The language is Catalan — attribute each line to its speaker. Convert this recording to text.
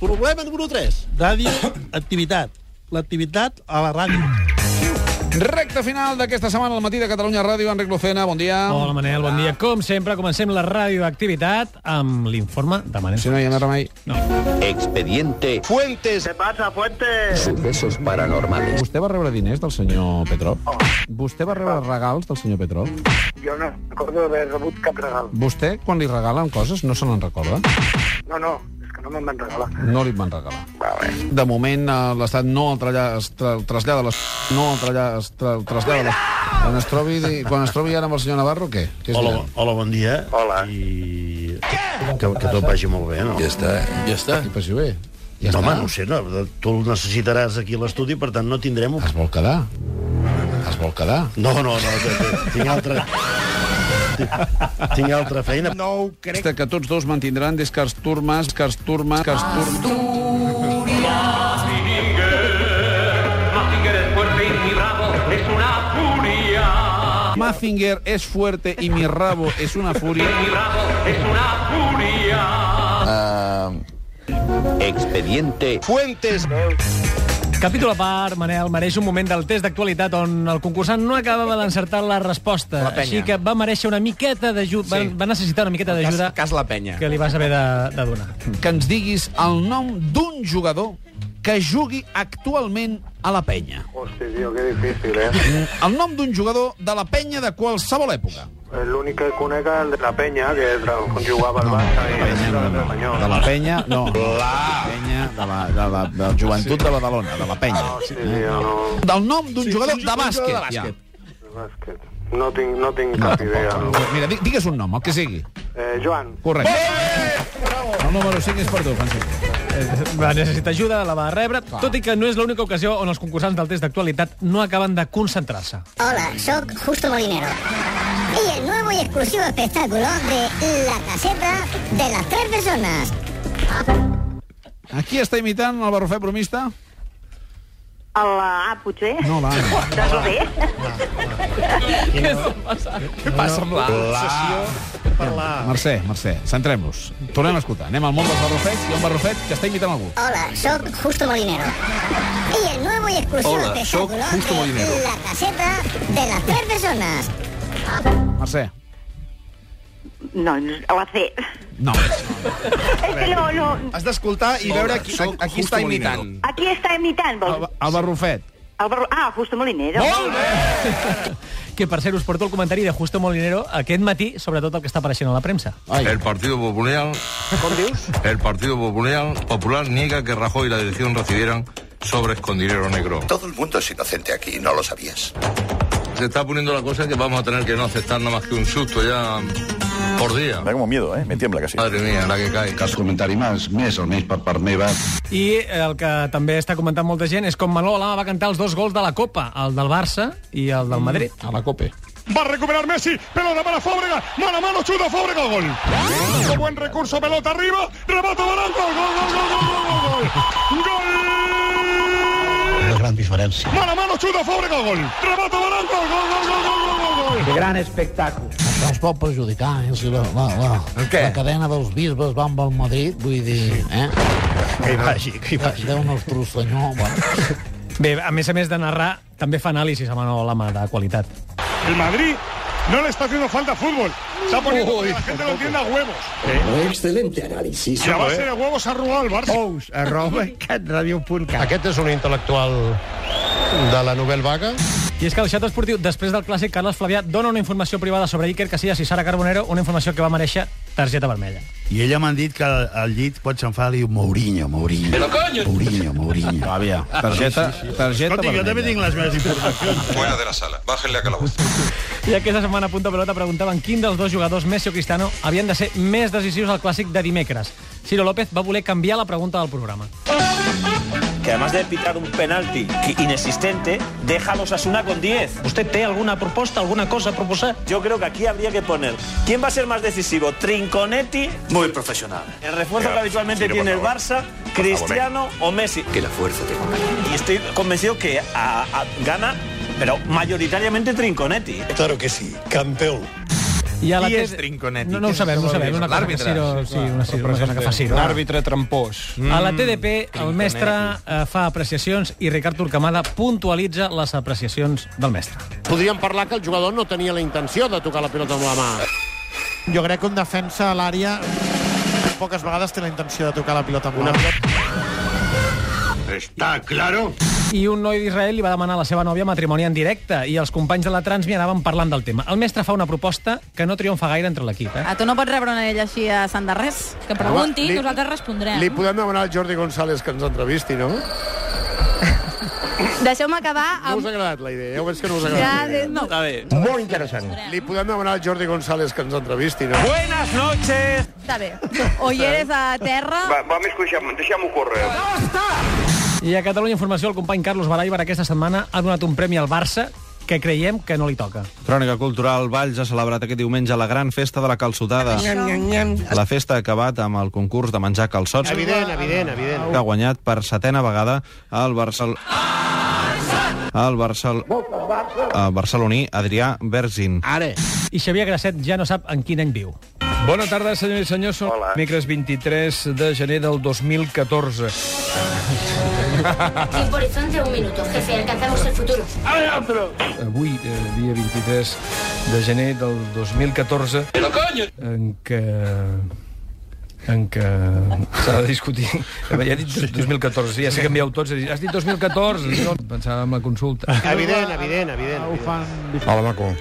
Speaker 1: Problema número 3.
Speaker 2: Ràdio, activitat. L'activitat a la ràdio.
Speaker 3: Recte final d'aquesta setmana al matí de Catalunya Ràdio. Enric Lucena, bon dia.
Speaker 4: Hola, Manel, bon dia. Com sempre, comencem la radioactivitat amb l'informe de Manel.
Speaker 3: Si no hi ha més remei.
Speaker 5: Expediente Fuentes.
Speaker 6: ¿Qué pasa, Fuentes?
Speaker 5: Sucesos paranormales.
Speaker 3: Vostè va rebre diners del senyor Petrov? Vostè va rebre regals del senyor Petrov?
Speaker 6: Yo no recuerdo haber rebut cap regal.
Speaker 3: Vostè, quan li regalen coses, no se n'en recorda?
Speaker 6: No, no, és que no me'n van regalar.
Speaker 3: No li van regalar.
Speaker 6: Vale.
Speaker 3: De moment, eh, l'Estat no el tralla, es tra, trasllada les... No el tralla, es tra, trasllada les... Quan es, trobi, quan es trobi ara amb el senyor Navarro, què? què es
Speaker 1: Hola,
Speaker 3: dirà?
Speaker 1: hola, bon dia.
Speaker 6: Hola.
Speaker 1: I... Que, que tot vagi molt bé, no?
Speaker 5: Ya está, ¿eh?
Speaker 1: Ja està.
Speaker 3: Que passi bé.
Speaker 1: Ja
Speaker 3: Ja
Speaker 1: no, home,
Speaker 3: està.
Speaker 1: no ho sé, no, tu el necessitaràs aquí a l'estudi, per tant no tindrem...
Speaker 3: Es vol quedar. Es vol quedar.
Speaker 1: No, no, no, que- que tinc altra... Tinc- Tinc altra feina. No.
Speaker 3: Crec que tots dos mantindran des que els turmes, que els turmes, que els turmes...
Speaker 7: Mazinger es fuerte y muy bravo, es una furia.
Speaker 3: Mazinger es fuerte y mi rabo es una furia.
Speaker 7: Muy bravo, es una furia.
Speaker 5: Ah, Expediente Fuentes.
Speaker 4: Capítol a part, Manel, mereix un moment del test d'actualitat on el concursant no acabava d'encertar la resposta.
Speaker 8: La penya.
Speaker 4: així que va mereixer una miqueta d'ajuda, sí.
Speaker 8: Sí.
Speaker 4: va, va necessitar una miqueta
Speaker 8: Cas,
Speaker 4: d'ajuda
Speaker 8: cas la penya.
Speaker 4: que li vas haver de, de donar.
Speaker 3: Que ens diguis el nom d'un jugador que jugui actualment a la penya.
Speaker 6: Hostia, tío, qué difícil, ¿eh?
Speaker 3: El nom d'un jugador de la penya de qualsevol època.
Speaker 6: El único que conega el de la Peña, que tra- jugava al Barça i era de
Speaker 8: De
Speaker 6: l'Espanyol.
Speaker 8: la penya, no. La penya de la, de la, de la joventut de Badalona, de la penya.
Speaker 6: Sí, tio, no,
Speaker 3: Del nom d'un jugador de bàsquet. Ja.
Speaker 6: bàsquet. No tinc, no tinc cap idea.
Speaker 3: Mira, di- digues un nom, el que sigui.
Speaker 6: Eh, Joan,
Speaker 3: Correcte. El número 5 és per tu, Francesc.
Speaker 4: Va necessitar ajuda, la va rebre, tot i que no és l'única ocasió on els concursants del test d'actualitat no acaben de concentrar-se.
Speaker 9: Hola, soy Justo Molinero. Y el nuevo y exclusivo espectáculo de La Caseta de las Tres Personas.
Speaker 3: Aquí està imitant el barrofer bromista?
Speaker 10: Hola, potser?
Speaker 3: No, l'Anna.
Speaker 10: Desoler?
Speaker 8: Què
Speaker 5: Ah,
Speaker 8: passa amb la...
Speaker 3: Mercè, Mercè, centrem-nos. Tornem a escoltar. Anem al món dels barrofets. Hi ha un barrofet que està imitant algú.
Speaker 9: Hola, soy Justo Molinero. Y el nuevo y exclusivo
Speaker 8: Hola, soy
Speaker 9: espectáculo
Speaker 8: Justo
Speaker 9: de
Speaker 8: Molinero.
Speaker 9: La Caseta de las Tres Personas.
Speaker 3: Mercè.
Speaker 10: No, a la C.
Speaker 3: No.
Speaker 10: És que no, no.
Speaker 8: Has d'escoltar i veure qui, a, a qui està imitant.
Speaker 10: Aquí està imitant,
Speaker 3: El,
Speaker 10: vols?
Speaker 3: el barrofet.
Speaker 10: El Barro... Ah, Justo Molinero.
Speaker 4: Que, per cert, us porto el comentari de Justo Molinero aquest matí, sobretot el que està apareixent a la premsa.
Speaker 3: Ai.
Speaker 5: Partido Popular. El Partido Popular, Popular niega que Rajoy y la dirección recibieran sobres con dinero negro. Todo el mundo es inocente aquí, no lo sabías. Se está poniendo la cosa que vamos a tener que no aceptar nada más que un susto ya por día. Me da como miedo, ¿eh? Me tiembla casi. Madre mía, la que cae. Cas comentari más, mes al mes per part meva.
Speaker 4: I el que també està comentant molta gent és com Manolo Lama va cantar els dos gols de la Copa, el del Barça i el del Madrid.
Speaker 3: A la cope.
Speaker 7: Va a recuperar Messi, pelota para Fóbrega, mano a mano, chudo Fóbrega, gol. Con buen recurso, pelota arriba, remato de Arango, gol, gol, gol, gol, gol, gol, gol.
Speaker 1: La gran diferència.
Speaker 7: Mano a mano, chudo Fóbrega, gol. Remato de Arango, gol, gol, gol, gol, gol, gol, gol.
Speaker 11: Es pot perjudicar, eh? Si la, la, la,
Speaker 8: El què?
Speaker 11: la cadena dels bisbes va amb el Madrid, vull dir, eh?
Speaker 1: Que hi vagi, que hi vagi.
Speaker 11: Déu nostre senyor, bueno.
Speaker 4: Bé, a més a més de narrar, també fa anàlisis a Manolo Lama de qualitat.
Speaker 7: El Madrid no le está haciendo falta fútbol. Está poniendo que la gente lo entienda a huevos. Excelente análisis. La base de huevos ha arrugado el Barça.
Speaker 2: Ous, arroba, catradio.cat.
Speaker 1: Aquest és un intel·lectual de la novel vaga?
Speaker 4: I és que el xat esportiu, després del clàssic, Carles Flavià dona una informació privada sobre Iker Casillas i Sara Carbonero, una informació que va mereixer targeta vermella.
Speaker 1: I ella m'han dit que al llit pot s'enfar, diu Mourinho, Mourinho. Però coño! Mourinho, Mourinho. Àvia.
Speaker 3: Targeta, targeta
Speaker 1: Escolti, jo també
Speaker 3: vermella.
Speaker 1: tinc les meves informacions.
Speaker 5: Fuera de la sala, bájenle a calabozo.
Speaker 4: I aquesta setmana a Punta Pelota preguntaven quin dels dos jugadors, Messi o Cristiano, havien de ser més decisius al clàssic de dimecres. Ciro López va voler canviar la pregunta del programa.
Speaker 6: Que además de pitar un penalti inexistente, déjalos a Suna con 10.
Speaker 4: ¿Usted té alguna proposta, alguna cosa a proposar?
Speaker 6: Yo creo que aquí habría que poner. ¿Quién va a ser más decisivo? ¿Trinconetti? Muy profesional. El refuerzo que habitualmente tiene el Barça, Cristiano o Messi.
Speaker 5: Que la fuerza te acompañe.
Speaker 6: Y estoy convencido que a- a- gana, pero mayoritariamente Trinconetti.
Speaker 1: Claro que sí, campeón.
Speaker 4: I a la
Speaker 12: Qui
Speaker 4: te-
Speaker 12: és Trinconetti?
Speaker 4: No, no ho
Speaker 12: Qui és
Speaker 4: sabem, no ho sabem. Una cosa que
Speaker 12: L'àrbitre.
Speaker 4: Ciro, sí, una, sí, una cosa que fa Ciro.
Speaker 12: L'àrbitre trampós. Mm,
Speaker 4: A la TDP, el mestre eh, fa apreciacions i Ricard Turcamada puntualitza les apreciacions del mestre.
Speaker 1: Podríem parlar que el jugador no tenia la intenció de tocar la pilota amb la mà.
Speaker 13: Jo crec que un defensa a l'àrea poques vegades té la intenció de tocar la pilota amb una
Speaker 6: Està claro?
Speaker 4: I un noi d'Israel li va demanar a la seva nòvia matrimoni en directe i els companys de la Transmi anaven parlant del tema. El mestre fa una proposta que no triomfa gaire entre l'equip. Eh?
Speaker 14: Ah, tu no pots rebre una ella així a Sant de Res?
Speaker 1: Que pregunti, Home, li-
Speaker 14: nosaltres respondrem.
Speaker 1: Li podem demanar al Jordi González que ens entrevisti, no?
Speaker 14: Deixeu-me acabar
Speaker 1: No us ha agradat la idea, ja ho veig que no us ha
Speaker 14: Ja,
Speaker 1: agradat.
Speaker 14: de- no.
Speaker 1: Està bé. Molt interessant. Li podem demanar al Jordi González que ens entrevisti, no?
Speaker 14: Buenas noches. Està bé. O hi eres a terra...
Speaker 6: Va, va més deixem-ho deixem córrer.
Speaker 4: I a Catalunya Informació, el company Carlos Baraibar aquesta setmana ha donat un premi al Barça que creiem que no li toca.
Speaker 7: Crònica Cultural Valls ha celebrat aquest diumenge la gran festa de la calçotada. La festa ha acabat amb el concurs de menjar calçots
Speaker 1: Evident, evident, evident.
Speaker 7: que ha guanyat per setena vegada el Barcel... El Barcel... El barceloní Adrià Berzin.
Speaker 4: Ara. I Xavier Grasset ja no sap en quin any viu.
Speaker 12: Bona tarda, senyors i senyors. Són Hola. Dimecres 23 de gener del 2014.
Speaker 9: Tiempo horizonte, un minuto, jefe. Alcanzamos el futuro.
Speaker 12: Avui, eh, dia 23 de gener del 2014, en què en què s'ha de discutir. Ja he dit 2014, sí, ja sé que envieu tots. Has dit 2014, no? pensava en la consulta.
Speaker 1: Evident, evident, evident. evident.
Speaker 12: Hola, maco.